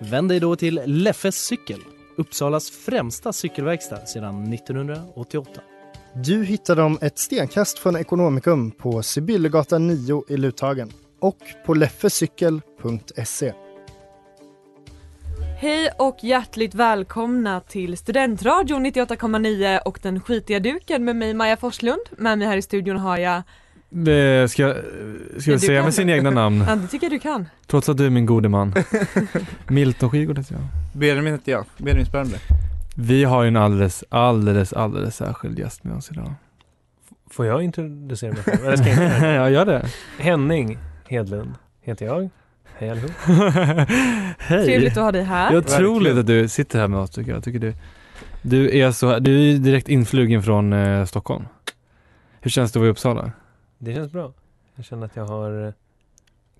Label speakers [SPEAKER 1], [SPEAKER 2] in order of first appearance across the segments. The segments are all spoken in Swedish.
[SPEAKER 1] Vänd dig då till Leffes cykel, Uppsalas främsta cykelverkstad sedan 1988.
[SPEAKER 2] Du hittar dem ett stenkast från Ekonomikum på Sibyllegatan 9 i Luthagen och på leffecykel.se.
[SPEAKER 3] Hej och hjärtligt välkomna till Studentradion 98,9 och den skitiga duken med mig Maja Forslund. Med mig här i studion har jag,
[SPEAKER 4] Det ska, ska
[SPEAKER 3] du
[SPEAKER 4] jag säga
[SPEAKER 3] kan.
[SPEAKER 4] med sin egna namn,
[SPEAKER 3] ja det tycker jag du kan.
[SPEAKER 4] trots att du är min gode man. Milton Skirgård heter jag.
[SPEAKER 5] Benjamin heter jag, Benjamin Spermberg.
[SPEAKER 4] Vi har ju en alldeles, alldeles, alldeles särskild gäst med oss idag.
[SPEAKER 6] Får jag introducera mig själv? Eller ska jag inte?
[SPEAKER 4] jag gör det.
[SPEAKER 6] Henning Hedlund heter jag. Hej allihop.
[SPEAKER 4] Hej.
[SPEAKER 3] Trevligt att ha dig här.
[SPEAKER 4] Det är otroligt att du sitter här med oss tycker jag. Tycker du, du är så, du är ju direkt influgen från eh, Stockholm. Hur känns det att vara i Uppsala?
[SPEAKER 6] Det känns bra. Jag känner att jag har eh,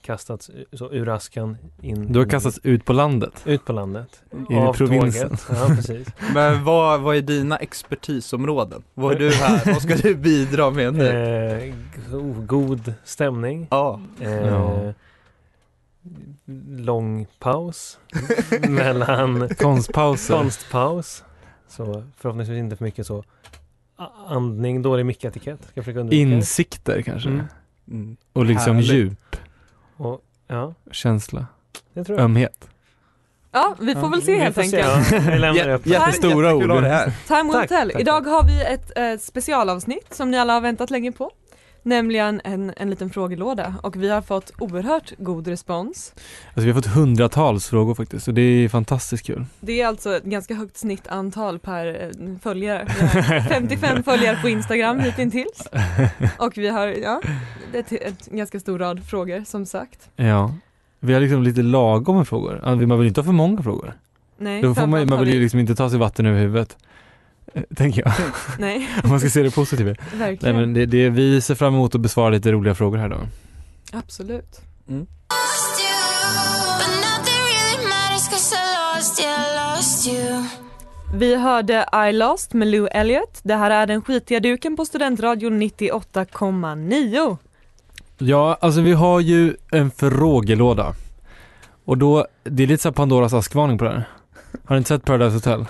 [SPEAKER 6] kastats u- så ur askan in.
[SPEAKER 4] Du har kastats ut på landet.
[SPEAKER 6] Ut på landet.
[SPEAKER 4] i provinsen.
[SPEAKER 6] Tåget. Ja, precis.
[SPEAKER 5] Men vad, vad är dina expertisområden? Vad är du här? Vad ska du bidra med nu?
[SPEAKER 6] eh, go- god stämning.
[SPEAKER 5] Ja,
[SPEAKER 6] Eh,
[SPEAKER 4] Ja.
[SPEAKER 6] Lång paus. mellan
[SPEAKER 4] Konstpauser.
[SPEAKER 6] konstpaus. Så förhoppningsvis inte för mycket så a- andning, dålig mickatikett. Ska jag försöka undvika.
[SPEAKER 4] Insikter kanske.
[SPEAKER 6] Mm.
[SPEAKER 5] mm.
[SPEAKER 4] Och liksom
[SPEAKER 5] Härligt.
[SPEAKER 4] djup,
[SPEAKER 6] Och, ja,
[SPEAKER 4] känsla,
[SPEAKER 6] det tror jag.
[SPEAKER 4] ömhet.
[SPEAKER 3] Ja vi får
[SPEAKER 4] Ja,
[SPEAKER 3] väl se
[SPEAKER 6] Vi
[SPEAKER 3] helt
[SPEAKER 6] får se.
[SPEAKER 3] enkelt.
[SPEAKER 6] Ja, jag lämnar det öppet.
[SPEAKER 5] Jättekul
[SPEAKER 4] Jättestora
[SPEAKER 5] att ha
[SPEAKER 4] ord.
[SPEAKER 5] det här.
[SPEAKER 3] Time will
[SPEAKER 6] Tack,
[SPEAKER 3] tell.
[SPEAKER 6] tack.
[SPEAKER 3] Idag har vi ett eh, specialavsnitt som ni alla har väntat länge på. Nämligen en, en liten frågelåda och vi har fått oerhört god respons.
[SPEAKER 4] Alltså vi har fått hundratals frågor faktiskt och det är fantastiskt kul.
[SPEAKER 3] Det är alltså ett ganska högt snittantal per eh, följare. Vi har 55 följare på Instagram hittills. Och vi har, ja, det är ett, en ganska stor rad frågor som sagt.
[SPEAKER 4] Ja. Vi har liksom lite lagom med frågor. Alltså, Man vill inte ha för många frågor.
[SPEAKER 3] Nej,
[SPEAKER 4] Då får man,
[SPEAKER 3] framförallt
[SPEAKER 4] man
[SPEAKER 3] har
[SPEAKER 4] vill ju
[SPEAKER 3] vi-
[SPEAKER 4] liksom inte ta sig vatten över huvudet. Eh, Tänker jag,
[SPEAKER 3] Nej,
[SPEAKER 4] om man ska se det positivt. Nej
[SPEAKER 3] verkligen.
[SPEAKER 4] men det, det, vi ser fram emot att besvara lite roliga frågor här då.
[SPEAKER 3] Absolut. Vi hörde I lost med Lou Elliott. Det här är den skitiga duken på Studentradion 98,9.
[SPEAKER 4] Ja, alltså vi har ju en frågelåda. Och då, det är lite såhär Pandoras askvarning på det här. Har ni inte sett Paradise Hotel?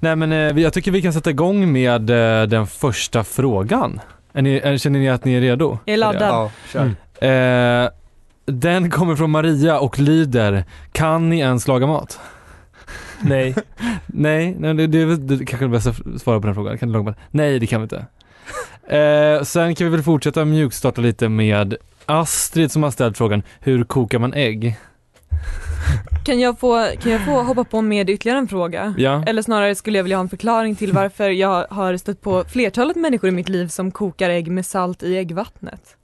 [SPEAKER 4] Nej men eh, vi- jag tycker vi kan sätta igång med eh, den första frågan. Är ni, är, känner ni att ni är redo?
[SPEAKER 3] Jag är laddad.
[SPEAKER 5] Ja, kör.
[SPEAKER 4] Eh, den kommer från Maria och lyder Kan ni ens laga mat?
[SPEAKER 6] Nej,
[SPEAKER 4] Nej, nej det, det, det är kanske är det bästa att svara på den frågan. Kan ni laga mat? Nej, det kan vi inte. Eh, sen kan vi väl fortsätta mjukstarta lite med Astrid som har ställt frågan Hur kokar man ägg?
[SPEAKER 3] Kan, jag få, kan jag få hoppa på med ytterligare en fråga?
[SPEAKER 4] Ja,
[SPEAKER 3] Eller snarare skulle jag vilja ha en förklaring till varför jag har stött på flertalet människor i mitt liv som kokar ägg med salt i äggvattnet.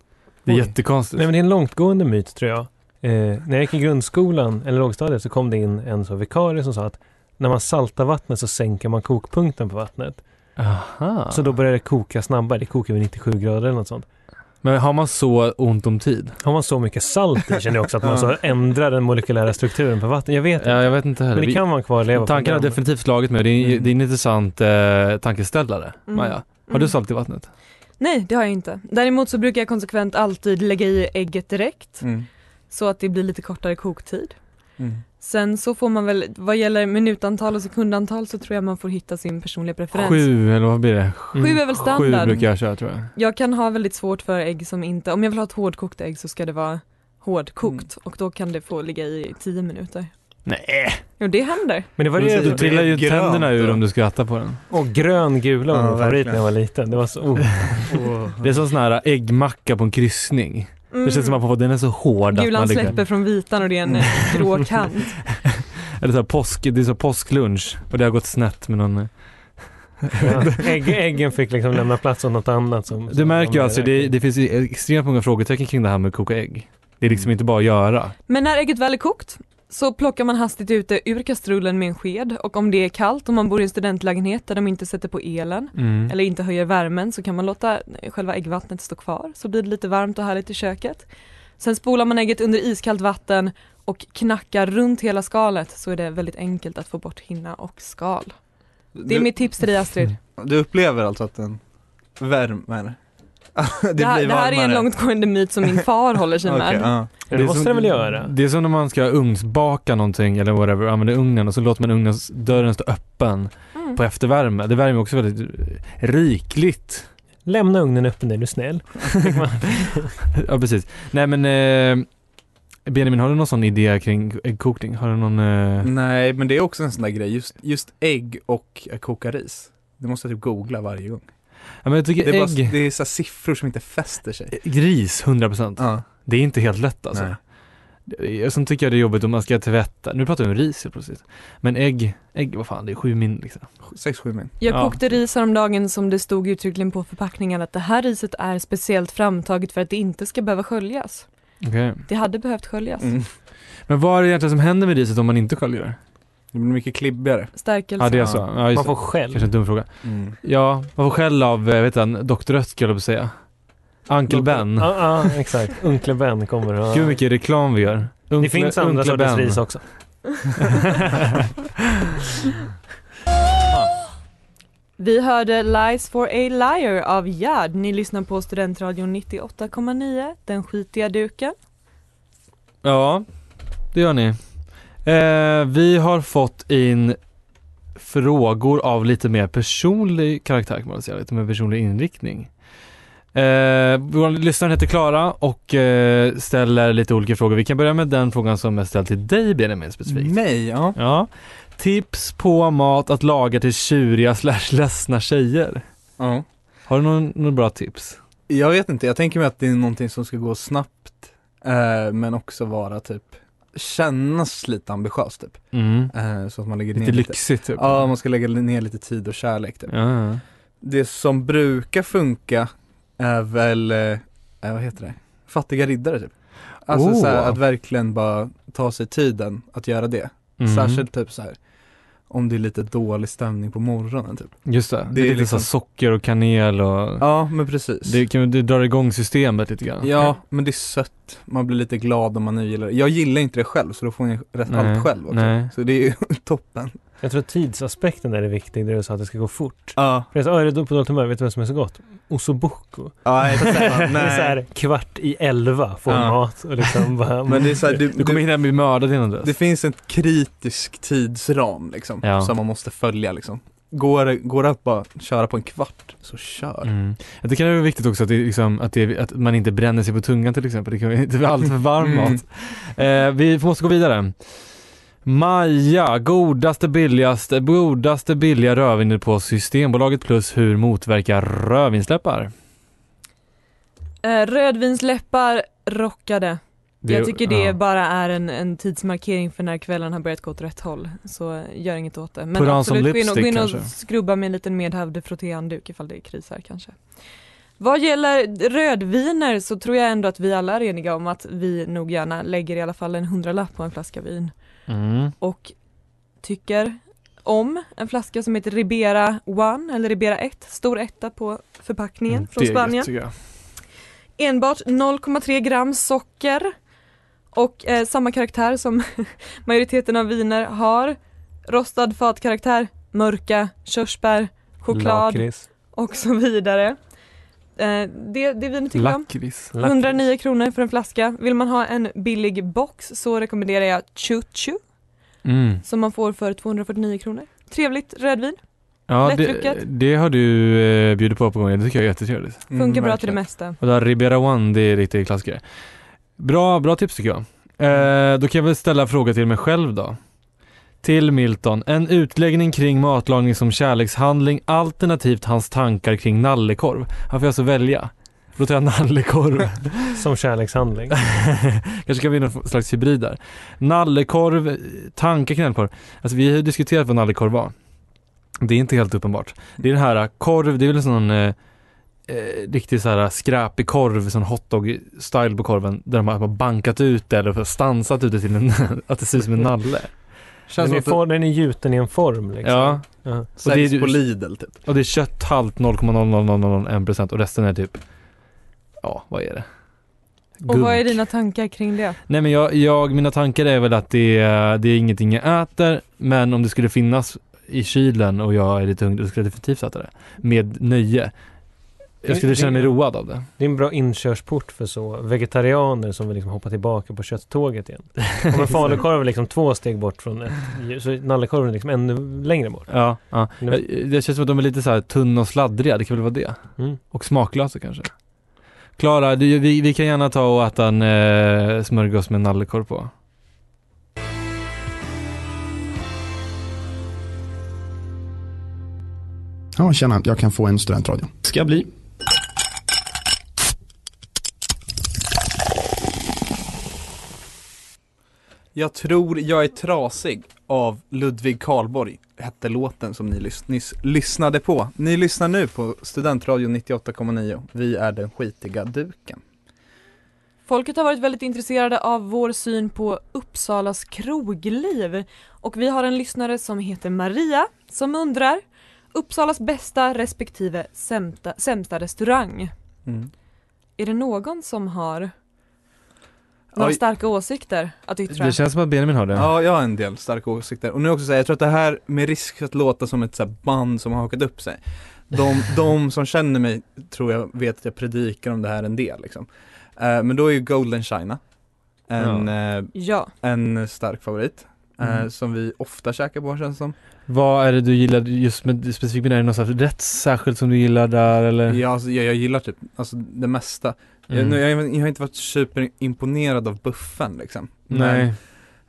[SPEAKER 4] det är
[SPEAKER 6] oj.
[SPEAKER 4] jättekonstigt.
[SPEAKER 6] Nej men det är en långtgående myt tror jag. Eh, när jag gick i grundskolan eller lågstadiet så kom det in en så vikarie som sa att när man saltar vattnet så sänker man kokpunkten på vattnet.
[SPEAKER 4] Aha.
[SPEAKER 6] Så då börjar det koka snabbare, det kokar vid 97 grader eller något sånt.
[SPEAKER 4] Men har man så ont om tid?
[SPEAKER 6] Har man så mycket salt i känner jag också att man så ändrar den molekylära strukturen på vattnet. Jag vet inte.
[SPEAKER 4] Ja, jag vet inte heller.
[SPEAKER 6] men det kan vara en kvarleva från
[SPEAKER 4] Tanken har
[SPEAKER 6] den.
[SPEAKER 4] definitivt slagit mig. Det är,
[SPEAKER 6] Mm.
[SPEAKER 4] det är en intressant eh, tankeställare,
[SPEAKER 3] Mm.
[SPEAKER 4] Maja. Har
[SPEAKER 3] Mm.
[SPEAKER 4] du salt i vattnet?
[SPEAKER 3] Nej, det har jag inte. Däremot så brukar jag konsekvent alltid lägga i ägget direkt
[SPEAKER 5] Mm.
[SPEAKER 3] så att det blir lite kortare koktid.
[SPEAKER 5] Mm.
[SPEAKER 3] Sen så får man väl, vad gäller minutantal och sekundantal så tror jag man får hitta sin personliga preferens.
[SPEAKER 4] Sju, eller vad blir det?
[SPEAKER 3] Sju är väl standard.
[SPEAKER 4] Sju brukar jag köra tror jag.
[SPEAKER 3] Jag kan ha väldigt svårt för ägg som inte, om jag vill ha ett hårdkokt ägg så ska det vara hårdkokt
[SPEAKER 4] Mm.
[SPEAKER 3] och då kan det få ligga i 10 minuter.
[SPEAKER 4] Nej.
[SPEAKER 3] Jo det händer.
[SPEAKER 6] Men det varierar.
[SPEAKER 4] Du
[SPEAKER 6] ju.
[SPEAKER 4] trillar ju
[SPEAKER 5] grönt
[SPEAKER 4] tänderna ur
[SPEAKER 5] då.
[SPEAKER 4] om du skrattar på den.
[SPEAKER 6] Och grön-gula var
[SPEAKER 5] Ja,
[SPEAKER 6] min favorit
[SPEAKER 5] verkligen.
[SPEAKER 6] när jag var liten. Det var så... Oh.
[SPEAKER 4] Det är som sån här äggmacka på en kryssning. Det känns som att man får, den är så hård att
[SPEAKER 3] Mm. Gulan
[SPEAKER 4] man liksom,
[SPEAKER 3] släpper från vitan och det är en eh, grå kant.
[SPEAKER 4] Eller så här påsk, det är så här påsklunch och det har gått snett med någon.
[SPEAKER 6] Ja. Ägg, äggen fick liksom lämna plats åt något annat. Som,
[SPEAKER 4] Du
[SPEAKER 6] som-
[SPEAKER 4] märker ju
[SPEAKER 6] som-
[SPEAKER 4] alltså, det, det finns Mm. ju extremt många frågetecken kring det här med att koka ägg. Det är liksom inte bara att göra.
[SPEAKER 3] Men när ägget väl är kokt så plockar man hastigt ut det ur kastrullen med en sked och om det är kallt och man bor i en studentlägenhet där de inte sätter på elen
[SPEAKER 4] Mm.
[SPEAKER 3] eller inte höjer värmen så kan man låta själva äggvattnet stå kvar så blir det lite varmt och härligt i köket. Sen spolar man ägget under iskallt vatten och knackar runt hela skalet så är det väldigt enkelt att få bort hinna och skal. Det är
[SPEAKER 5] Du-
[SPEAKER 3] mitt tips till dig Astrid.
[SPEAKER 5] Du upplever alltså att den värmer? det,
[SPEAKER 3] Det, här, det här är en långtgående myt som min far håller sig med.
[SPEAKER 5] Okej, ja.
[SPEAKER 6] Ja, det måste
[SPEAKER 4] som,
[SPEAKER 6] den väl göra?
[SPEAKER 4] Det är som när man ska ugnsbaka någonting eller whatever och använder ugnen och så låter man ugnen, dörren stå öppen
[SPEAKER 3] Mm.
[SPEAKER 4] på eftervärme. Det värmer också väldigt rikligt.
[SPEAKER 6] Lämna ugnen öppen är du snäll.
[SPEAKER 4] ja, precis. Nej men eh, Benjamin, har du någon sån idé kring äggkokning? Har du någon... Eh...
[SPEAKER 6] Mm.
[SPEAKER 5] Nej, men det är också en sån där grej, just, just ägg och att koka ris. Det måste jag typ googla varje gång.
[SPEAKER 4] Ja, men jag tycker
[SPEAKER 5] Det är, bara,
[SPEAKER 4] ägg,
[SPEAKER 5] det är så här siffror som inte fäster sig.
[SPEAKER 4] gris, 100%.
[SPEAKER 5] Ja,
[SPEAKER 4] Det är inte helt lätt alltså.
[SPEAKER 5] Nej.
[SPEAKER 4] Jag som tycker jag det är jobbigt om man ska tvätta, nu pratar vi om ris helt plötsligt. Men ägg, ägg vad fan det är sju min liksom.
[SPEAKER 5] sex, sju min.
[SPEAKER 3] Jag
[SPEAKER 4] Ja.
[SPEAKER 3] kokte ris häromdagen som det stod uttryckligen på förpackningen att det här riset är speciellt framtaget för att det inte ska behöva sköljas.
[SPEAKER 4] Okej.
[SPEAKER 3] Det hade behövt sköljas.
[SPEAKER 5] Mm.
[SPEAKER 4] Men vad är det egentligen som händer med riset om man inte sköljer det?
[SPEAKER 5] Det blir mycket klibbigare.
[SPEAKER 3] Stärkelse.
[SPEAKER 4] Ja det är så,
[SPEAKER 5] så.
[SPEAKER 4] ja, just, det.
[SPEAKER 6] Man får skäll.
[SPEAKER 4] kanske en dum fråga. Ja, man får skäll av, eh, vet du, Dr. Röttger höll jag på att säga. Uncle Ben.
[SPEAKER 6] Ja, ja, exakt. Unkle Ben kommer och...
[SPEAKER 4] Gud vad mycket reklam vi gör. Unkle,
[SPEAKER 6] det finns andra
[SPEAKER 4] Unkle
[SPEAKER 6] sorters
[SPEAKER 4] Ben.
[SPEAKER 6] ris också.
[SPEAKER 3] Vi hörde Lies for a liar av Gerd. Ni lyssnar på Studentradion 98,9, Den skitiga duken.
[SPEAKER 4] Ja, det gör ni. Eh, vi har fått in frågor av lite mer personlig karaktär kan man väl säga, lite mer personlig inriktning. Eh, vår lyssnare heter Klara och eh, ställer lite olika frågor. Vi kan börja med den frågan som är ställd till dig Benjamin specifikt.
[SPEAKER 5] Nej, ja.
[SPEAKER 4] Ja. Tips på mat att laga till tjuriga slash ledsna tjejer.
[SPEAKER 5] ja.
[SPEAKER 4] Har du någon, några bra tips?
[SPEAKER 5] Jag vet inte, jag tänker mig att det är någonting som ska gå snabbt, eh, men också vara typ, kännas lite ambitiöst typ.
[SPEAKER 4] Mm.
[SPEAKER 5] Eh, så att man lägger
[SPEAKER 4] Lite
[SPEAKER 5] ner
[SPEAKER 4] lyxigt typ.
[SPEAKER 5] Ja, man ska lägga ner lite tid och kärlek typ.
[SPEAKER 4] ja.
[SPEAKER 5] Det som brukar funka är väl, eh, eh, vad heter det, fattiga riddare typ. Alltså
[SPEAKER 4] Oh.
[SPEAKER 5] så här, att verkligen bara ta sig tiden att göra det.
[SPEAKER 4] Mm.
[SPEAKER 5] Särskilt typ så här om det är lite dålig stämning på morgonen typ.
[SPEAKER 4] Just det, det
[SPEAKER 5] Det
[SPEAKER 4] är
[SPEAKER 5] är
[SPEAKER 4] lite
[SPEAKER 5] liksom-
[SPEAKER 4] så socker och kanel och
[SPEAKER 5] Ja men precis.
[SPEAKER 4] Det, kan, det drar igång systemet lite grann.
[SPEAKER 5] Ja men det är sött, man blir lite glad om man nu gillar det. Jag gillar inte det själv så då får jag rätt
[SPEAKER 4] Nej,
[SPEAKER 5] allt själv också.
[SPEAKER 4] nej.
[SPEAKER 5] Så det är ju toppen.
[SPEAKER 6] Jag tror tidsaspekten där är viktig, det du sa att det ska gå fort.
[SPEAKER 5] Ja,
[SPEAKER 6] För jag sa, "Ah, är du på dåligt humör, vet du vad som är så gott? Osoboko.
[SPEAKER 5] ja exakt.
[SPEAKER 6] Det är så
[SPEAKER 5] Nej.
[SPEAKER 6] här, kvart i elva får
[SPEAKER 5] Ja.
[SPEAKER 6] mat och liksom bara...
[SPEAKER 5] Men det är så här, du,
[SPEAKER 4] Du kommer hinna bli mördad innan dess.
[SPEAKER 5] Det finns en kritisk tidsram liksom,
[SPEAKER 4] Ja.
[SPEAKER 5] som man måste följa liksom. Går, det- går det att bara köra på en kvart, så kör.
[SPEAKER 4] Mm. Jag tycker det är viktigt också att, det, är liksom, att, det, att man inte bränner sig på tungan till exempel. Det kan ju inte vara allt för varm
[SPEAKER 5] Mm.
[SPEAKER 4] mat. Eh, vi måste gå vidare. Maja, godaste billigaste, godaste billiga rödvinet på Systembolaget plus hur motverka rödvinsläppar.
[SPEAKER 3] Eh, rödvinsläppar rockade.
[SPEAKER 4] Det-
[SPEAKER 3] Jag tycker det
[SPEAKER 4] ja.
[SPEAKER 3] bara är en, en tidsmarkering för när kvällen har börjat gå åt rätt håll. Så eh, gör inget åt det. Men
[SPEAKER 4] Put on
[SPEAKER 3] absolut,
[SPEAKER 4] some
[SPEAKER 3] gå in och, gå in och
[SPEAKER 4] lipstick, kanske.
[SPEAKER 3] skrubba med en liten medhavd frottéhandduk ifall det krisar kanske. Vad gäller rödviner så tror jag ändå att vi alla är eniga om att vi nog gärna lägger i alla fall en hundralapp på en flaska vin.
[SPEAKER 4] Mm.
[SPEAKER 3] och tycker om en flaska som heter Ribera One eller Ribera 1, stor etta på förpackningen från
[SPEAKER 4] Det är gött,
[SPEAKER 3] Spanien.
[SPEAKER 4] tycker jag.
[SPEAKER 3] Enbart 0,3 gram socker och eh, samma karaktär som majoriteten av viner har. Rostad fatkaraktär, mörka, körsbär, choklad
[SPEAKER 6] Lakrits.
[SPEAKER 3] och så vidare. Eh, det, det vinet tycker jag om.
[SPEAKER 4] Lakrits.
[SPEAKER 3] 109 kronor för en flaska. Vill man ha en billig box så rekommenderar jag Chuchu
[SPEAKER 4] Mm.
[SPEAKER 3] som man får för 249 kronor. Trevligt rödvin,
[SPEAKER 4] Ja, det,
[SPEAKER 3] Lättdrucket.
[SPEAKER 4] det har du eh, bjudit på på gången. Det tycker jag är jättetrevligt.
[SPEAKER 5] Mm,
[SPEAKER 3] funkar bra
[SPEAKER 5] verkligen.
[SPEAKER 3] till det mesta.
[SPEAKER 4] Och där Ribera One, det är riktigt klassiker. Bra, bra tips tycker jag. Eh, då kan jag väl ställa en fråga till mig själv då. Till Milton, en utläggning kring matlagning som kärlekshandling alternativt hans tankar kring nallekorv. Här får jag alltså välja. Då tar jag nallekorv.
[SPEAKER 6] Som kärlekshandling.
[SPEAKER 4] Kanske kan bli någon slags hybrid där. Nallekorv, tankar kring nallekorv. Alltså vi har ju diskuterat äh, vad nallekorv var. Det är inte helt uppenbart. Det är den här eh, korv, det är väl en sån eh, eh, riktig så här skräpig korv, sån hotdog-style på korven, där de har bara bankat ut det eller så stansat ut det till en, att det ser ut som en nalle.
[SPEAKER 5] Känns
[SPEAKER 6] Den
[SPEAKER 5] som
[SPEAKER 6] är,
[SPEAKER 5] att det
[SPEAKER 6] for, den är gjuten i en form liksom.
[SPEAKER 4] Ja,
[SPEAKER 6] Ja.
[SPEAKER 4] och det är
[SPEAKER 5] säljs
[SPEAKER 4] ju-
[SPEAKER 5] på Lidl typ.
[SPEAKER 4] och det är kötthalt 0,00001% och resten är typ, ja vad är det?
[SPEAKER 3] Och vad är
[SPEAKER 4] Gunk.
[SPEAKER 3] dina tankar kring det?
[SPEAKER 4] Nej men jag, jag, mina tankar är väl att det, är- det är ingenting jag äter, men om det skulle finnas i kylen och jag är lite hungrig, då skulle jag definitivt äta det. Med nöje. Jag skulle
[SPEAKER 6] Det-
[SPEAKER 4] känna mig
[SPEAKER 6] det-
[SPEAKER 4] road av det.
[SPEAKER 6] Det är en bra inkörsport för så vegetarianer som vill liksom hoppa tillbaka på kötttåget igen. Om en falukorv är liksom två steg bort från ett djur, så är nallekorven liksom ännu längre bort.
[SPEAKER 4] Ja, ja. Jag, det känns som att de är lite så här tunna och sladdriga, det kan väl vara det.
[SPEAKER 6] Mm.
[SPEAKER 4] Och smaklösa kanske. Klara, du, vi, vi kan gärna ta och äta en eh, smörgås med nallekorv på.
[SPEAKER 7] Ja, tjena, jag kan få en studentradio.
[SPEAKER 8] Ska bli.
[SPEAKER 5] Jag tror jag är trasig av Ludvig Karlborg hette låten som ni lys- nyss lyssnade på. Ni lyssnar nu på Studentradio 98,9. Vi är den skitiga duken.
[SPEAKER 3] Folket har varit väldigt intresserade av vår syn på Uppsalas krogliv och vi har en lyssnare som heter Maria som undrar Uppsalas bästa respektive sämsta, sämsta restaurang.
[SPEAKER 5] Mm.
[SPEAKER 3] Är det någon som har några
[SPEAKER 5] Oj.
[SPEAKER 3] starka åsikter att yttra?
[SPEAKER 4] Det känns som att Benjamin har det.
[SPEAKER 5] Ja, jag har en del starka åsikter. Och nu också säga, jag tror att det här med risk att låta som ett så här band som har hakat upp sig. De, de som känner mig tror jag vet att jag predikar om det här en del liksom. Eh, men då är ju Golden China en, eh,
[SPEAKER 3] Ja,
[SPEAKER 5] en stark favorit. eh,
[SPEAKER 4] Mm.
[SPEAKER 5] Som vi ofta käkar på känns det som.
[SPEAKER 4] Vad är det du gillar just med specifikt med det? Är det något så här rätt särskilt som du gillar där eller?
[SPEAKER 5] Ja, alltså, jag, jag gillar typ, alltså det mesta. Jag,
[SPEAKER 4] Eh. Mm.
[SPEAKER 5] nu, jag, jag har inte varit superimponerad av buffen liksom.
[SPEAKER 4] Mm. Nej.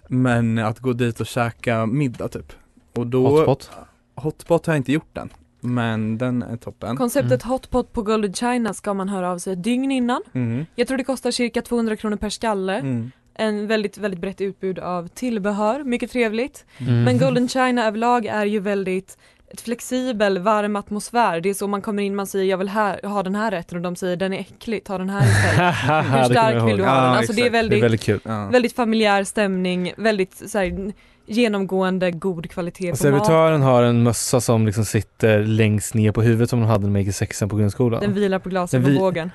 [SPEAKER 5] Men, men att gå dit och käka middag typ. Och då,
[SPEAKER 4] Hotpot?
[SPEAKER 5] Hotpot har jag inte gjort den. Men den är toppen.
[SPEAKER 3] konceptet hotpot på Golden China ska man höra av sig ett dygn innan.
[SPEAKER 5] Mm.
[SPEAKER 3] Jag tror det kostar cirka 200 kronor per skalle.
[SPEAKER 5] Mm.
[SPEAKER 3] En väldigt, väldigt brett utbud av tillbehör, mycket trevligt.
[SPEAKER 4] Mm.
[SPEAKER 3] Men Golden China överlag är ju väldigt ett flexibel, varm atmosfär. Det är så man kommer in, man säger jag vill här, ha den här rätten och de säger den är äcklig, ta den här istället. Hur
[SPEAKER 4] Hur
[SPEAKER 3] stark vill du ha
[SPEAKER 5] Ja,
[SPEAKER 3] den? Alltså det är
[SPEAKER 5] exakt.
[SPEAKER 4] Det är
[SPEAKER 3] väldigt, väldigt...
[SPEAKER 4] väldigt kul.
[SPEAKER 5] Ja.
[SPEAKER 3] familjär stämning, väldigt så här, genomgående god kvalitet på mat.
[SPEAKER 4] Alltså, Servitören har en mössa som liksom sitter längst ner på huvudet som de hade när de gick i sexan på grundskolan.
[SPEAKER 3] Den vilar på glasen
[SPEAKER 4] Den
[SPEAKER 3] på
[SPEAKER 4] vi-
[SPEAKER 3] bågen.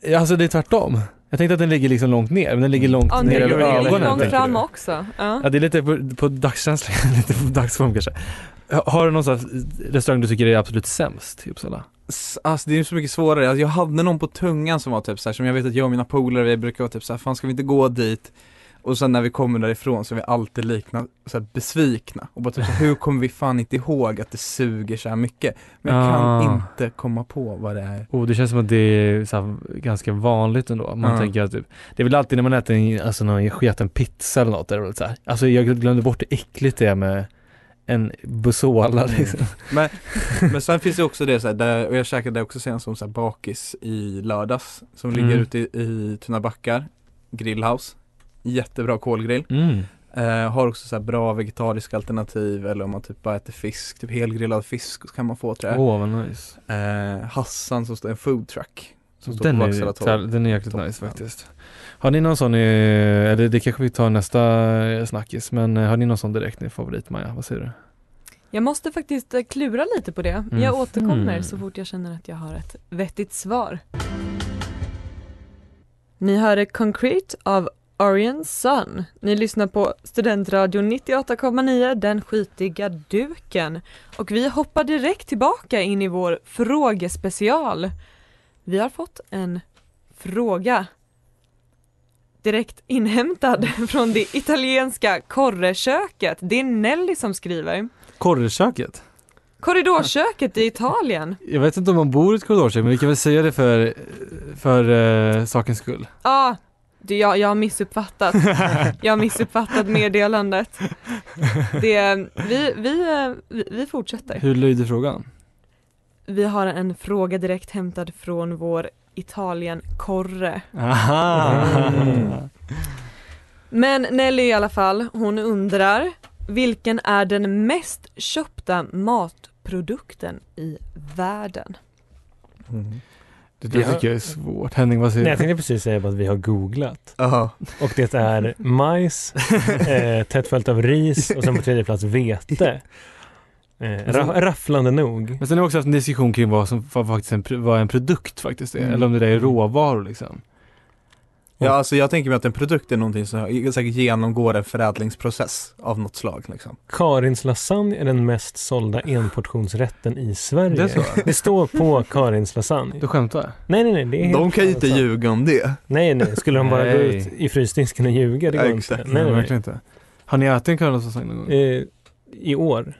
[SPEAKER 4] Ja, Alltså det är tvärtom. Jag tänkte att den ligger liksom långt ner, men den ligger långt
[SPEAKER 3] Ja, den
[SPEAKER 4] ner
[SPEAKER 3] ligger
[SPEAKER 4] över
[SPEAKER 3] väldigt
[SPEAKER 4] ögonen.
[SPEAKER 3] långt
[SPEAKER 4] tänker
[SPEAKER 3] fram
[SPEAKER 4] du.
[SPEAKER 3] också. Ja.
[SPEAKER 4] Ja, det är lite på, på dagskänsla, lite på dagsform kanske. Har du någon sån här restaurang du tycker är absolut sämst i Uppsala?
[SPEAKER 5] S- Alltså det är så mycket svårare, alltså, jag hade någon på tungan som var typ såhär, som jag vet att jag och mina polare vi brukar vara typ såhär, fan ska vi inte gå dit? Och sen när vi kommer därifrån så är vi alltid likna, så här besvikna och bara typ så här, hur kommer vi fan inte ihåg att det suger så här mycket? Men jag kan
[SPEAKER 4] Ah.
[SPEAKER 5] inte komma på vad det är
[SPEAKER 4] Oh, det känns som att det är så här ganska vanligt ändå. Man
[SPEAKER 5] Ja.
[SPEAKER 4] tänker att typ, det är väl alltid när man äter en, alltså någon sketen pizza eller något, det är det väl så här. Alltså jag glömde bort hur äckligt det är med en busola liksom.
[SPEAKER 5] Mm. Men sen finns det också det såhär, där, och jag käkade det också senast som såhär bakis i lördags Som ligger
[SPEAKER 4] Mm.
[SPEAKER 5] ute i, i Tuna backar, grillhouse Jättebra kolgrill
[SPEAKER 4] Mm.
[SPEAKER 5] Eh, har också så här bra vegetariska alternativ eller om man typ bara äter fisk, typ helgrillad fisk så kan man få tror jag.
[SPEAKER 4] Åh vad nice.
[SPEAKER 5] Eh, Hassan som står en food truck som står
[SPEAKER 4] Den
[SPEAKER 5] på
[SPEAKER 4] är,
[SPEAKER 5] Vaksala
[SPEAKER 4] ju-
[SPEAKER 5] torg.
[SPEAKER 4] den är jäkligt
[SPEAKER 5] Toppen.
[SPEAKER 4] nice faktiskt. Har ni någon sån, eh, eller det kanske vi tar nästa eh, snackis, men eh, har ni någon sån direkt ni favorit Maja? Vad säger du?
[SPEAKER 3] Jag måste faktiskt eh, klura lite på det.
[SPEAKER 4] Mm.
[SPEAKER 3] Jag återkommer
[SPEAKER 4] Mm.
[SPEAKER 3] så fort jag känner att jag har ett vettigt svar. Ni hörde Concrete av Orion Sun. Ni lyssnar på Studentradion 98,9, Den skitiga duken. Och vi hoppar direkt tillbaka in i vår frågespecial. Vi har fått en fråga direkt inhämtad från det italienska korreköket. Det är Nelly som skriver.
[SPEAKER 4] Korvköket?
[SPEAKER 3] Korridorköket i Italien.
[SPEAKER 4] Jag vet inte om man bor i ett korridorkök, men vi kan väl säga det för, för eh, sakens skull.
[SPEAKER 3] Ja, det, jag, jag har missuppfattat. Jag har missuppfattat meddelandet. Det, vi, vi, eh, vi, vi fortsätter.
[SPEAKER 4] Hur lyder frågan?
[SPEAKER 3] Vi har en fråga direkt hämtad från vår Italien-korre.
[SPEAKER 4] Aha!
[SPEAKER 6] Mm.
[SPEAKER 4] Mm.
[SPEAKER 3] Men Nelly i alla fall, hon undrar vilken är den mest köpta matprodukten i världen?
[SPEAKER 5] Mm.
[SPEAKER 4] Det där
[SPEAKER 6] Ja.
[SPEAKER 4] tycker jag är svårt. Henning, vad
[SPEAKER 6] Nej,
[SPEAKER 4] säger du?
[SPEAKER 6] jag tänkte precis säga bara att vi har googlat.
[SPEAKER 5] Jaha.
[SPEAKER 6] Och det är majs, eh, tätt följt av ris och sen på tredje plats vete. Eh, ra- rafflande nog.
[SPEAKER 4] Men sen har vi också haft en diskussion kring vad som vad faktiskt en, pr- vad en produkt faktiskt är.
[SPEAKER 5] Mm.
[SPEAKER 4] Eller om det där är råvaror liksom.
[SPEAKER 5] Ja, alltså jag tänker mig att en produkt är någonting som säkert genomgår en förädlingsprocess av något slag liksom.
[SPEAKER 6] Karins lasagne är den mest sålda enportionsrätten i Sverige.
[SPEAKER 4] Det är så?
[SPEAKER 6] Det står på Karins lasagne.
[SPEAKER 4] Du skämtar?
[SPEAKER 6] Nej, nej, nej. Det är helt alltså-
[SPEAKER 5] De kan ju inte
[SPEAKER 6] sant.
[SPEAKER 5] ljuga om det.
[SPEAKER 6] Nej, nej. Skulle de bara gå
[SPEAKER 4] Nej.
[SPEAKER 6] ut i frysdisken och ljuga? Det går
[SPEAKER 5] Ja,
[SPEAKER 6] inte.
[SPEAKER 5] exakt.
[SPEAKER 6] Nej, nej, nej.
[SPEAKER 4] verkligen inte. Har ni ätit en currywurst någon gång?
[SPEAKER 6] Eh, I år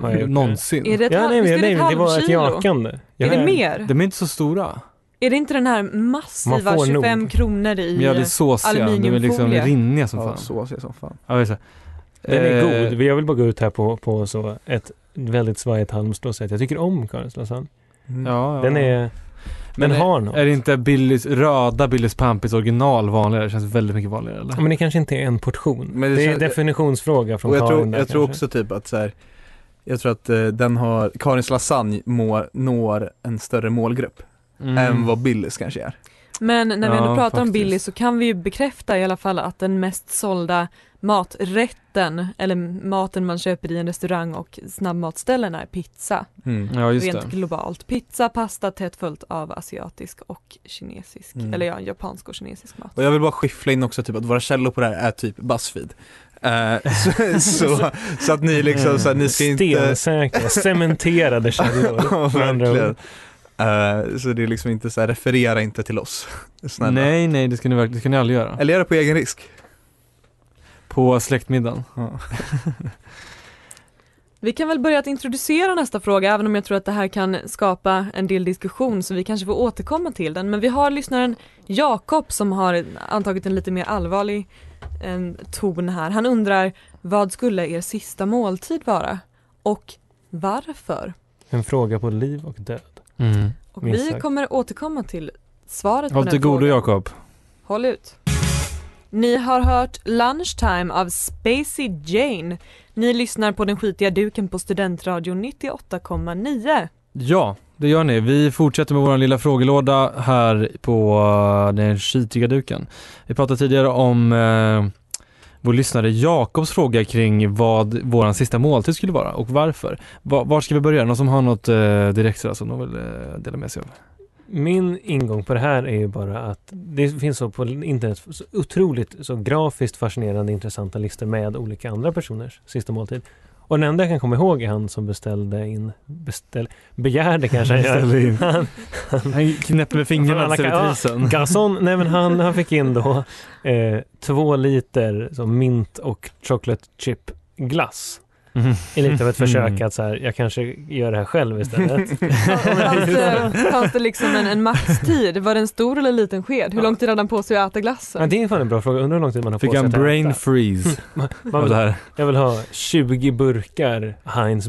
[SPEAKER 6] har jag gjort det.
[SPEAKER 4] Någonsin?
[SPEAKER 3] Är det ett,
[SPEAKER 6] Ja,
[SPEAKER 3] halv,
[SPEAKER 6] nej,
[SPEAKER 3] visst
[SPEAKER 6] men,
[SPEAKER 3] är det
[SPEAKER 6] nej,
[SPEAKER 3] ett
[SPEAKER 6] men det var ett
[SPEAKER 3] halvkilo?
[SPEAKER 6] jakande.
[SPEAKER 3] Är
[SPEAKER 6] Jag-
[SPEAKER 3] det mer?
[SPEAKER 4] De är inte så stora.
[SPEAKER 3] Är det inte den här
[SPEAKER 6] Man
[SPEAKER 3] massiva
[SPEAKER 6] får nog.
[SPEAKER 3] 25 kronor
[SPEAKER 4] Men ja, det är
[SPEAKER 3] i... eh,
[SPEAKER 4] såsiga. De är liksom
[SPEAKER 3] aluminiumfolie.
[SPEAKER 4] rinniga som
[SPEAKER 5] Ja,
[SPEAKER 4] fan.
[SPEAKER 5] så ser som fan.
[SPEAKER 4] Ja, visst.
[SPEAKER 6] Den är
[SPEAKER 4] Eh,
[SPEAKER 6] god. Jag vill bara gå ut här på, på så ett väldigt svajigt Halmstad och säga att jag tycker om Karins lasagne.
[SPEAKER 5] Mm.
[SPEAKER 4] Ja, ja.
[SPEAKER 6] Den, är,
[SPEAKER 4] Men
[SPEAKER 6] den
[SPEAKER 4] är,
[SPEAKER 6] har något.
[SPEAKER 5] eh,
[SPEAKER 4] är det inte Billys, röda Billys Pampis original vanligare? Det känns väldigt mycket vanligare eller?
[SPEAKER 6] Ja, Men det kanske inte är en portion.
[SPEAKER 5] Men det
[SPEAKER 6] det är en
[SPEAKER 5] känns-
[SPEAKER 6] definitionsfråga från
[SPEAKER 5] Och jag
[SPEAKER 6] Karin
[SPEAKER 5] tror,
[SPEAKER 6] där
[SPEAKER 5] jag tror
[SPEAKER 6] kanske.
[SPEAKER 5] också typ att så här, jag tror att eh, den har, Karins lasagne mår, når en större målgrupp
[SPEAKER 4] Mm.
[SPEAKER 6] Mm.
[SPEAKER 5] än vad Billys kanske är.
[SPEAKER 3] Men när vi
[SPEAKER 4] Ja,
[SPEAKER 3] ändå pratar om
[SPEAKER 4] faktiskt.
[SPEAKER 3] Billy så kan vi ju bekräfta i alla fall att den mest sålda maträtten, eller maten man köper i en restaurang och snabbmatsställen är pizza.
[SPEAKER 6] Mm.
[SPEAKER 4] Ja, just
[SPEAKER 3] Rent
[SPEAKER 4] det.
[SPEAKER 3] globalt. Pizza, pasta tätt följt av asiatisk och kinesisk,
[SPEAKER 5] Mm.
[SPEAKER 3] eller ja, japansk och kinesisk mat.
[SPEAKER 5] Och jag vill bara skiffla in också typ att våra källor på det här är typ Buzzfeed. Eh, så, så, så att ni liksom, så här, ni ska inte
[SPEAKER 6] Stensäkra, cementerade källor.
[SPEAKER 5] Ja,
[SPEAKER 6] med andra ord.
[SPEAKER 5] verkligen. Eh, så det är liksom inte så här, referera inte till oss. Snälla.
[SPEAKER 4] Nej, nej, det ska ni, verkligen- det ska ni aldrig göra.
[SPEAKER 5] Eller göra på egen risk.
[SPEAKER 4] På släktmiddagen.
[SPEAKER 3] Vi kan väl börja att introducera nästa fråga även om jag tror att det här kan skapa en del diskussion så vi kanske får återkomma till den. Men vi har lyssnaren Jakob som har antagit en lite mer allvarlig eh, ton här. Han undrar vad skulle er sista måltid vara? Och varför?
[SPEAKER 6] En fråga på liv och död.
[SPEAKER 4] Mm.
[SPEAKER 3] Och
[SPEAKER 6] Minst
[SPEAKER 3] vi
[SPEAKER 6] sagt.
[SPEAKER 3] kommer återkomma till svaret
[SPEAKER 4] Håll
[SPEAKER 3] på
[SPEAKER 4] till
[SPEAKER 3] den
[SPEAKER 4] godo
[SPEAKER 3] frågan.
[SPEAKER 4] Jakob.
[SPEAKER 3] Håll ut. Ni har hört Lunchtime av Spacey Jane. Ni lyssnar på den skitiga duken på Studentradion 98,9.
[SPEAKER 4] Ja, det gör ni. Vi fortsätter med vår lilla frågelåda här på eh, den skitiga duken. Vi pratade tidigare om eh, vår lyssnare Jakobs fråga kring vad vår sista måltid skulle vara och varför. Va, var ska vi börja? Någon som har något eh, direkt sådär som de vill eh, dela med sig av?
[SPEAKER 6] Min ingång på det här är ju bara att det finns så på internet så otroligt så grafiskt fascinerande intressanta listor med olika andra personers sista måltid. Och den enda jag kan komma ihåg är han som beställde in, beställ, begärde kanske han gör.
[SPEAKER 4] Beställde in.
[SPEAKER 6] Han,
[SPEAKER 4] Han knäpper med
[SPEAKER 6] Från
[SPEAKER 4] fingrarna
[SPEAKER 6] alla
[SPEAKER 4] till
[SPEAKER 6] ka- ja.
[SPEAKER 4] servitrisen.
[SPEAKER 6] Garçon, nej men han, han fick in då eh, två liter så mint och chocolate chip glass.
[SPEAKER 4] Mhm.
[SPEAKER 6] I lite av ett försök
[SPEAKER 4] Mm.
[SPEAKER 6] att så här, jag kanske gör det här själv istället.
[SPEAKER 3] Fanns det, fanns det liksom en, en maxtid? Var det en stor eller liten sked? Hur lång tid hade han på sig att äta
[SPEAKER 6] Ja,
[SPEAKER 3] glassen?
[SPEAKER 6] det är fan en bra fråga, undrar hur lång tid man har
[SPEAKER 4] Fick
[SPEAKER 6] på sig
[SPEAKER 4] jag en
[SPEAKER 6] att äta.
[SPEAKER 4] brain Alltså, freeze
[SPEAKER 6] Man
[SPEAKER 4] av
[SPEAKER 6] vill
[SPEAKER 4] det här?
[SPEAKER 6] Jag vill ha 20 burkar Heinz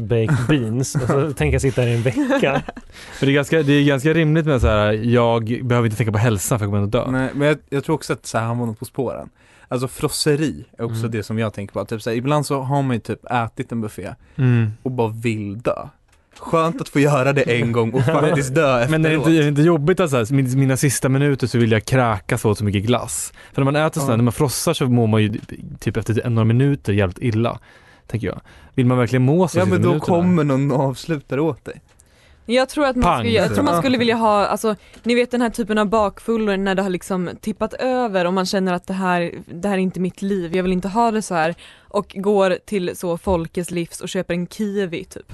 [SPEAKER 6] Baked Beans och så tänker jag sitta här i en vecka.
[SPEAKER 4] För det, är ganska, det är ganska rimligt med så här. jag behöver inte tänka på hälsan för jag kommer ändå dö.
[SPEAKER 5] Nej, men jag, jag tror också att så här, han var något på spåren. Alltså frosseri är också
[SPEAKER 4] Mm.
[SPEAKER 5] det som jag tänker på. Typ, så här, ibland så har man ju typ ätit en buffé
[SPEAKER 4] Mm.
[SPEAKER 5] och bara vill dö. Skönt att få göra det en gång och faktiskt dö efteråt.
[SPEAKER 4] Men är det, inte, är det inte jobbigt att så här, min, mina sista minuter så vill jag kräkas åt så mycket glass? För när man äter sånt här,
[SPEAKER 5] Ja.
[SPEAKER 4] när man frossar så mår man ju typ efter några minuter jävligt illa. Tänker jag. Vill man verkligen må så
[SPEAKER 5] ja
[SPEAKER 4] sista
[SPEAKER 5] men då
[SPEAKER 4] minuterna?
[SPEAKER 5] kommer någon och avslutar åt dig.
[SPEAKER 3] Jag tror att man,
[SPEAKER 4] Pang.
[SPEAKER 3] skulle, jag tror man skulle vilja ha, alltså, ni vet den här typen av bakfullor när det har liksom tippat över och man känner att det här, det här är inte mitt liv, jag vill inte ha det så här. Och går till så Folkets livs och köper en kiwi typ.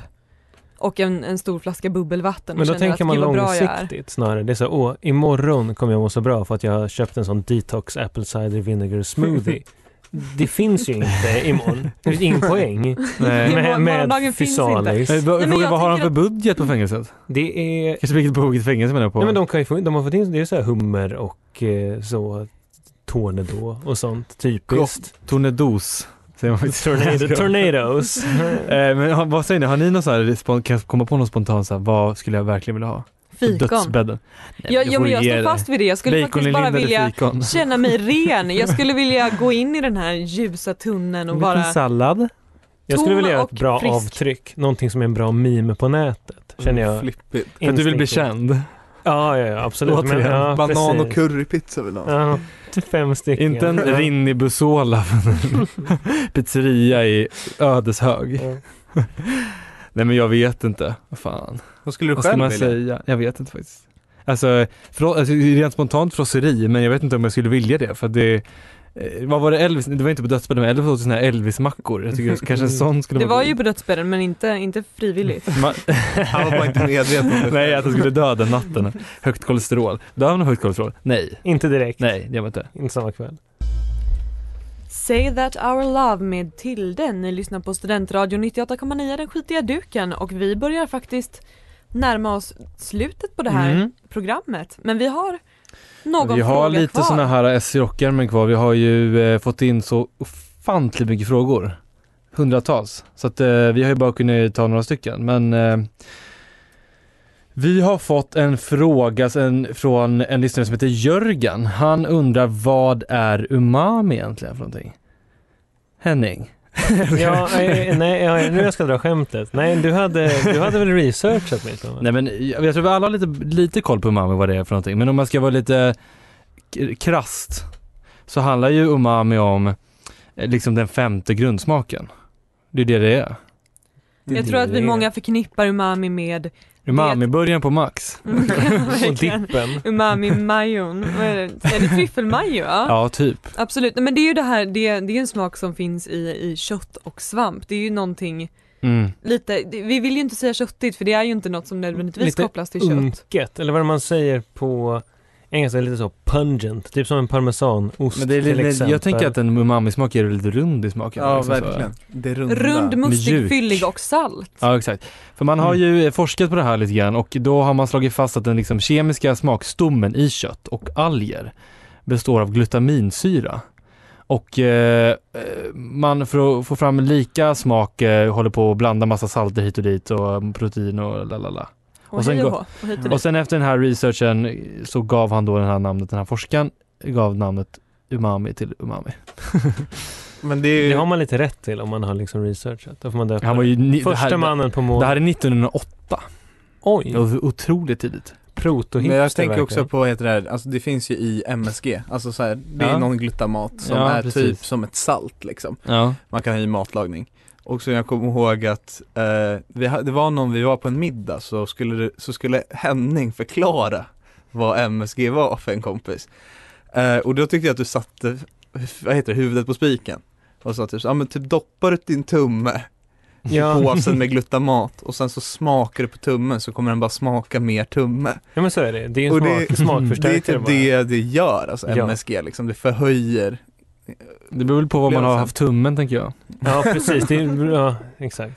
[SPEAKER 3] Och en, en stor flaska bubbelvatten och
[SPEAKER 6] Men då
[SPEAKER 3] känner
[SPEAKER 6] tänker
[SPEAKER 3] att
[SPEAKER 6] man
[SPEAKER 3] gud vad bra jag är.
[SPEAKER 6] långsiktigt snarare. Det är så, åh, imorgon kommer jag må så bra för att jag har köpt en sån detox apple cider vinegar smoothie. Det finns ju inte imorgon. Det finns ingen poäng.
[SPEAKER 4] Nej.
[SPEAKER 3] Imorgon-
[SPEAKER 6] Med,
[SPEAKER 3] morgondagen
[SPEAKER 6] med
[SPEAKER 3] finns
[SPEAKER 6] physalis.
[SPEAKER 4] Eh, vad-
[SPEAKER 3] men
[SPEAKER 4] fråga,
[SPEAKER 3] jag
[SPEAKER 4] vad har han
[SPEAKER 3] tänker
[SPEAKER 4] för budget på fängelset?
[SPEAKER 6] Det är...
[SPEAKER 4] Kanske vilket budget fängelse menar jag på?
[SPEAKER 6] Nej men de, kan ju få, in- de har fått in, det är så här hummer och eh, så Tornedå och sånt typiskt.
[SPEAKER 4] Tornedos. Säger man faktiskt.
[SPEAKER 6] Tornado, tornadoes.
[SPEAKER 4] Eh, men har- vad säger ni, har ni någon så här, spon- kan jag komma på någon spontan så här, vad skulle jag verkligen vilja ha?
[SPEAKER 3] Fikon.
[SPEAKER 4] Dödsbädden. Nej,
[SPEAKER 3] Jag, jag,
[SPEAKER 4] får
[SPEAKER 3] men jag
[SPEAKER 4] ge
[SPEAKER 3] står
[SPEAKER 4] dig.
[SPEAKER 3] fast vid det, jag skulle faktiskt bara
[SPEAKER 4] Baconlindade
[SPEAKER 3] vilja
[SPEAKER 4] fikon.
[SPEAKER 3] känna mig ren. Jag skulle vilja gå in i den här ljusa tunneln och
[SPEAKER 4] En
[SPEAKER 3] bara...
[SPEAKER 4] liten sallad.
[SPEAKER 6] Jag skulle
[SPEAKER 3] Tom
[SPEAKER 6] vilja göra ett
[SPEAKER 3] och
[SPEAKER 6] bra
[SPEAKER 3] frisk.
[SPEAKER 6] avtryck. Någonting som är en bra meme på nätet. Känner jag.
[SPEAKER 4] Mm,
[SPEAKER 5] Flippigt.
[SPEAKER 4] För att du vill bli
[SPEAKER 6] instinktivt.
[SPEAKER 4] känd.
[SPEAKER 6] Ja, ja, ja absolut. Men,
[SPEAKER 4] Återigen,
[SPEAKER 6] ja,
[SPEAKER 5] Banan och
[SPEAKER 6] precis.
[SPEAKER 5] currypizza vill du ha?
[SPEAKER 6] Ja, fem stycken.
[SPEAKER 4] Inte en
[SPEAKER 6] Ja.
[SPEAKER 4] rinnig Busola från en pizzeria i Ödeshög.
[SPEAKER 6] Ja.
[SPEAKER 4] Nej men jag vet inte. Vad fan.
[SPEAKER 5] Vad skulle du
[SPEAKER 4] Vad ska
[SPEAKER 5] själv
[SPEAKER 4] man
[SPEAKER 5] vilja?
[SPEAKER 4] säga? Jag vet inte faktiskt. Alltså, för, alltså rent spontant frosseri, men jag vet inte om jag skulle vilja det för att det eh, vad var det Elvis, det var inte på dödsbädden men Elvis åt sådana här Elvis-mackor. Jag tycker kanske en sån skulle
[SPEAKER 3] Mm. Det
[SPEAKER 4] vara
[SPEAKER 3] var
[SPEAKER 4] god.
[SPEAKER 3] ju på dödsbädden men inte, inte frivilligt.
[SPEAKER 4] Man-
[SPEAKER 5] Han var bara inte medveten om det.
[SPEAKER 4] Nej, att han skulle dö den natten. Högt kolesterol. Dör han av högt kolesterol? Nej.
[SPEAKER 6] Inte direkt.
[SPEAKER 4] Nej, det gör man inte.
[SPEAKER 6] Inte samma kväll.
[SPEAKER 3] Say That Our Love med Tilde. Ni lyssnar på Studentradion 98,9 Den skitiga duken och vi börjar faktiskt närma oss slutet på det här
[SPEAKER 4] Mm.
[SPEAKER 3] programmet. Men vi har någon
[SPEAKER 4] Vi har
[SPEAKER 3] fråga
[SPEAKER 4] lite
[SPEAKER 3] kvar.
[SPEAKER 4] sådana här SC-rockärmen kvar. Vi har ju eh, fått in så ofantligt mycket frågor. Hundratals. Så att eh, vi har ju bara kunnat ta några stycken. Men eh, vi har fått en fråga sen, från en lyssnare som heter Jörgen. Han undrar vad är umami egentligen för någonting? Henning?
[SPEAKER 6] Ja, nej, nej, ja, nu jag ska dra skämtet. Nej, du hade, du hade väl researchat mig? Thomas?
[SPEAKER 4] Nej men jag, jag tror vi alla har lite, lite koll på umami vad det är för någonting. Men om man ska vara lite k- krasst så handlar ju umami om eh, liksom den femte grundsmaken. Det är det det är.
[SPEAKER 3] Jag tror att vi många förknippar umami med
[SPEAKER 4] Umami, början på max.
[SPEAKER 6] Och dippen.
[SPEAKER 3] umami-majon. Vad är det? Är det tryffelmajo? Ja.
[SPEAKER 4] Ja, typ.
[SPEAKER 3] Absolut, Nej, men det är ju det här, det, det är en smak som finns i, i kött och svamp. Det är ju någonting
[SPEAKER 4] Mm.
[SPEAKER 3] lite, det- vi vill ju inte säga köttigt för det är ju inte något som nödvändigtvis
[SPEAKER 6] Lite
[SPEAKER 3] kopplas till kött.
[SPEAKER 6] Unket, eller vad man säger på engelska, lite så pungent. Typ som en parmesanost
[SPEAKER 4] Men det är,
[SPEAKER 6] till
[SPEAKER 4] lite-
[SPEAKER 6] exempel.
[SPEAKER 4] jag tänker att en umami-smak är lite rund i smaken.
[SPEAKER 5] Ja,
[SPEAKER 4] liksom så.
[SPEAKER 5] verkligen. Det runda.
[SPEAKER 3] Rund, mustig,
[SPEAKER 4] Mjuk.
[SPEAKER 3] fyllig och salt.
[SPEAKER 4] Ja exakt. För man har ju eh, forskat på det här lite grann och då har man slagit fast att den liksom kemiska smakstommen i kött och alger består av glutaminsyra. Och eh, eh, man för att få fram lika smak eh, håller på att blanda massa salter hit och dit och protein och lalala.
[SPEAKER 3] Och,
[SPEAKER 4] Och sen
[SPEAKER 3] hej och
[SPEAKER 4] går-
[SPEAKER 3] hå, och hit och
[SPEAKER 4] Och
[SPEAKER 3] dit.
[SPEAKER 4] sen efter den här researchen eh, så gav han då den här namnet, den här forskaren gav namnet umami till umami.
[SPEAKER 5] Men det är ju...
[SPEAKER 6] Det har man lite rätt till om man har liksom researchat. Då får man döpa
[SPEAKER 4] Han var ju ni-
[SPEAKER 6] det. Första
[SPEAKER 4] det, här,
[SPEAKER 6] mannen på
[SPEAKER 4] det
[SPEAKER 6] månen.
[SPEAKER 4] här är 1908,
[SPEAKER 6] Oj!
[SPEAKER 4] det var otroligt tidigt.
[SPEAKER 6] Proto
[SPEAKER 5] Men jag tänker också på, vad heter det här, alltså det finns ju i MSG, alltså så här, det är
[SPEAKER 4] Ja.
[SPEAKER 5] någon glutamat som
[SPEAKER 4] Ja,
[SPEAKER 5] är
[SPEAKER 4] precis.
[SPEAKER 5] typ som ett salt liksom,
[SPEAKER 4] Ja.
[SPEAKER 5] man kan ha i matlagning. Och så jag kommer ihåg att eh, vi, ha- det var någon, vi var på en middag så skulle, det- så skulle Henning förklara vad MSG var för en kompis. Eh, och då tyckte jag att du satte, vad heter det, huvudet på spiken. Och sa typ, så, ja men typ doppar du din tumme i
[SPEAKER 6] Ja,
[SPEAKER 5] påsen med glutamat och sen så smakar du på tummen så kommer den bara smaka mer tumme.
[SPEAKER 6] ja men så är det. Det är en
[SPEAKER 5] Och
[SPEAKER 6] smak,
[SPEAKER 5] det- Det är
[SPEAKER 6] smakförstärkare
[SPEAKER 5] typ
[SPEAKER 6] bara.
[SPEAKER 5] det det gör, alltså
[SPEAKER 6] Ja.
[SPEAKER 5] MSG liksom, det förhöjer
[SPEAKER 4] Det beror väl på vad man har
[SPEAKER 5] Upplevelsen.
[SPEAKER 4] haft tummen tänker jag.
[SPEAKER 6] Ja, precis. Det är, ja, exakt.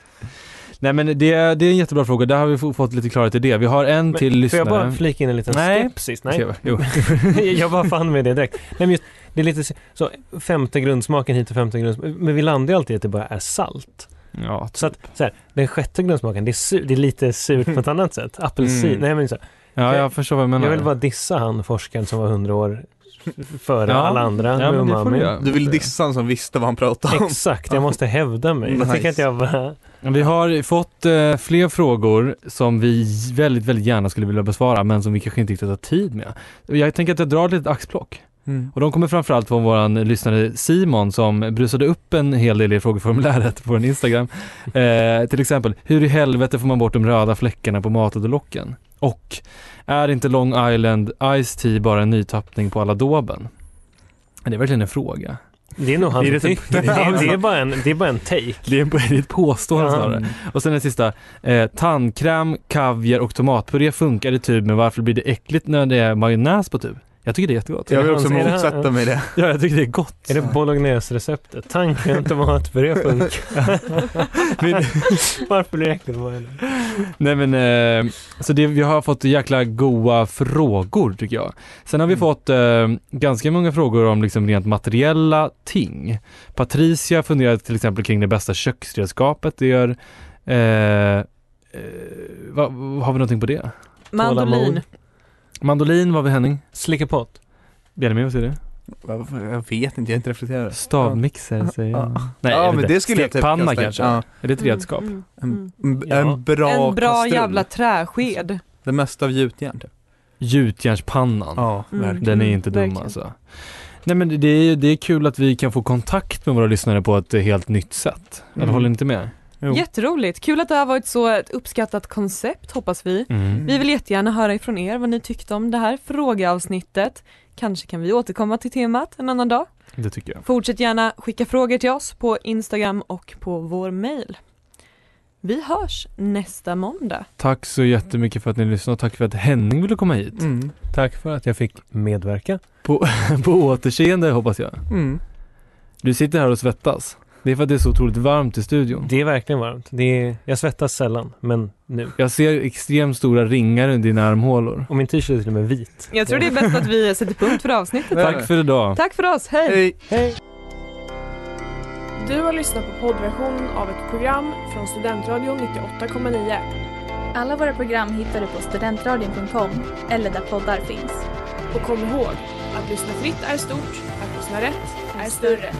[SPEAKER 4] Nej men det, det är en jättebra fråga, där har vi f- fått lite klarhet i det. Vi har en
[SPEAKER 6] Men
[SPEAKER 4] till
[SPEAKER 6] Får
[SPEAKER 4] lyssnare.
[SPEAKER 6] jag bara flika in en liten
[SPEAKER 4] Nej.
[SPEAKER 6] skepsis? Nej.
[SPEAKER 4] Ska jag- Jo.
[SPEAKER 6] jag bara fann med det direkt. Nej, men just, det är lite så, femte grundsmaken hit och femte grundsmaken. Men vi landar ju alltid i att det bara är salt.
[SPEAKER 4] Ja,
[SPEAKER 6] Så att så här, den sjätte grundsmaken, det är, sur, det är lite surt på ett annat sätt. Apelsin.
[SPEAKER 4] Mm.
[SPEAKER 6] Nej, men så, här,
[SPEAKER 4] ja, jag förstår vad du menar.
[SPEAKER 6] jag vill bara dissa han forskaren som var hundra år f- före
[SPEAKER 4] Ja.
[SPEAKER 6] alla andra
[SPEAKER 4] ja,
[SPEAKER 6] med
[SPEAKER 4] men det får
[SPEAKER 6] umami.
[SPEAKER 4] du göra.
[SPEAKER 5] Du vill dissa en som visste vad han pratade om
[SPEAKER 6] Exakt, jag måste hävda mig. Jag tycker
[SPEAKER 5] Nice.
[SPEAKER 6] att jag bara...
[SPEAKER 4] Vi har fått eh, fler frågor som vi väldigt, väldigt gärna skulle vilja besvara men som vi kanske inte riktigt har tid med. Jag tänker att jag drar ett litet axplock.
[SPEAKER 5] Mm.
[SPEAKER 4] Och de kommer framförallt från våran lyssnare Simon som brusade upp en hel del i frågeformuläret på vår Instagram. Eh, till exempel, hur i helvete får man bort de röda fläckarna på matåterlocken? Och, är inte Long Island Ice Tea bara en nytappning på alla doben? Det är verkligen en fråga.
[SPEAKER 6] Det typ är nog han
[SPEAKER 4] Det är
[SPEAKER 6] som
[SPEAKER 4] lite-
[SPEAKER 6] tycker. Det är, det är bara en, det är bara en take.
[SPEAKER 4] Det är, det är ett påstående
[SPEAKER 6] Ja.
[SPEAKER 4] snarare. Och sen den sista, eh, tandkräm, kaviar och tomatpuré funkar i tub men varför blir det äckligt när det är majonnäs på tub? Jag tycker det är jättegott.
[SPEAKER 5] Jag vill också
[SPEAKER 6] Hans- är det här-
[SPEAKER 5] motsätta mig det
[SPEAKER 4] Ja, jag tycker det är gott.
[SPEAKER 6] Är det bolognese-receptet? Tanken tomatpuré funkar.
[SPEAKER 4] Men-
[SPEAKER 6] Varför blir det äckligt? Vad är det?
[SPEAKER 4] Nej men, eh, så det, vi har fått jäkla goa frågor tycker jag. Sen har vi
[SPEAKER 5] Mm.
[SPEAKER 4] fått eh, ganska många frågor om liksom rent materiella ting. Patricia funderar till exempel kring det bästa köksredskapet det gör. Eh, eh, vad- har vi någonting på det?
[SPEAKER 3] Mandolin.
[SPEAKER 6] Tålamod.
[SPEAKER 4] Mandolin, vad har vi Henning?
[SPEAKER 6] Slickepott.
[SPEAKER 4] Benjamin, vad säger du?
[SPEAKER 5] Jag vet inte, jag inte reflekterat
[SPEAKER 4] Stavmixer säger jag. Nej, jag
[SPEAKER 5] ja
[SPEAKER 4] vet
[SPEAKER 5] men
[SPEAKER 4] inte.
[SPEAKER 5] det skulle jag typ
[SPEAKER 4] Stekpanna
[SPEAKER 5] kasta in.
[SPEAKER 4] kanske?
[SPEAKER 5] ja.
[SPEAKER 4] Är det ett redskap?
[SPEAKER 3] Mm,
[SPEAKER 5] en,
[SPEAKER 3] mm,
[SPEAKER 5] en
[SPEAKER 6] Ja.
[SPEAKER 5] bra
[SPEAKER 3] mm. En bra
[SPEAKER 5] kastrull.
[SPEAKER 3] jävla träsked.
[SPEAKER 5] Det mesta av gjutjärn typ.
[SPEAKER 4] gjutjärnspannan.
[SPEAKER 5] Ja,
[SPEAKER 3] Mm.
[SPEAKER 5] verkligen.
[SPEAKER 4] Den är inte dum
[SPEAKER 3] verkligen.
[SPEAKER 4] alltså. Nej men det är, det är kul att vi kan få kontakt med våra lyssnare på ett helt nytt sätt. Eller
[SPEAKER 5] Mm.
[SPEAKER 4] håller ni inte med?
[SPEAKER 5] Jo.
[SPEAKER 3] Jätteroligt, kul att det har varit så ett uppskattat koncept hoppas vi.
[SPEAKER 6] Mm.
[SPEAKER 3] Vi vill jättegärna höra ifrån er vad ni tyckte om det här frågeavsnittet. Kanske kan vi återkomma till temat en annan dag.
[SPEAKER 4] Det tycker jag.
[SPEAKER 3] Fortsätt gärna skicka frågor till oss på Instagram och på vår mail. Vi hörs nästa måndag.
[SPEAKER 4] Tack så jättemycket för att ni lyssnade och tack för att Henning ville komma hit.
[SPEAKER 5] Mm.
[SPEAKER 6] Tack för att jag fick medverka.
[SPEAKER 4] På återseende hoppas jag.
[SPEAKER 5] Mm.
[SPEAKER 4] Du sitter här och svettas. Det är för att det är så otroligt varmt i studion.
[SPEAKER 6] Det är verkligen varmt. Det är, jag svettas sällan, men nu.
[SPEAKER 4] Jag ser extremt stora ringar under dina armhålor.
[SPEAKER 6] Och min t-shirt är till och med vit.
[SPEAKER 3] Jag tror det är bäst att vi sätter punkt för avsnittet.
[SPEAKER 4] Tack för idag.
[SPEAKER 3] Tack för oss, hej!
[SPEAKER 5] Hej.
[SPEAKER 9] Du har lyssnat på poddversionen av ett program från Studentradion 98,9.
[SPEAKER 10] Alla våra program hittar du på studentradion.com eller där poddar finns.
[SPEAKER 9] Och kom ihåg, att lyssna fritt är stort, att lyssna rätt är större.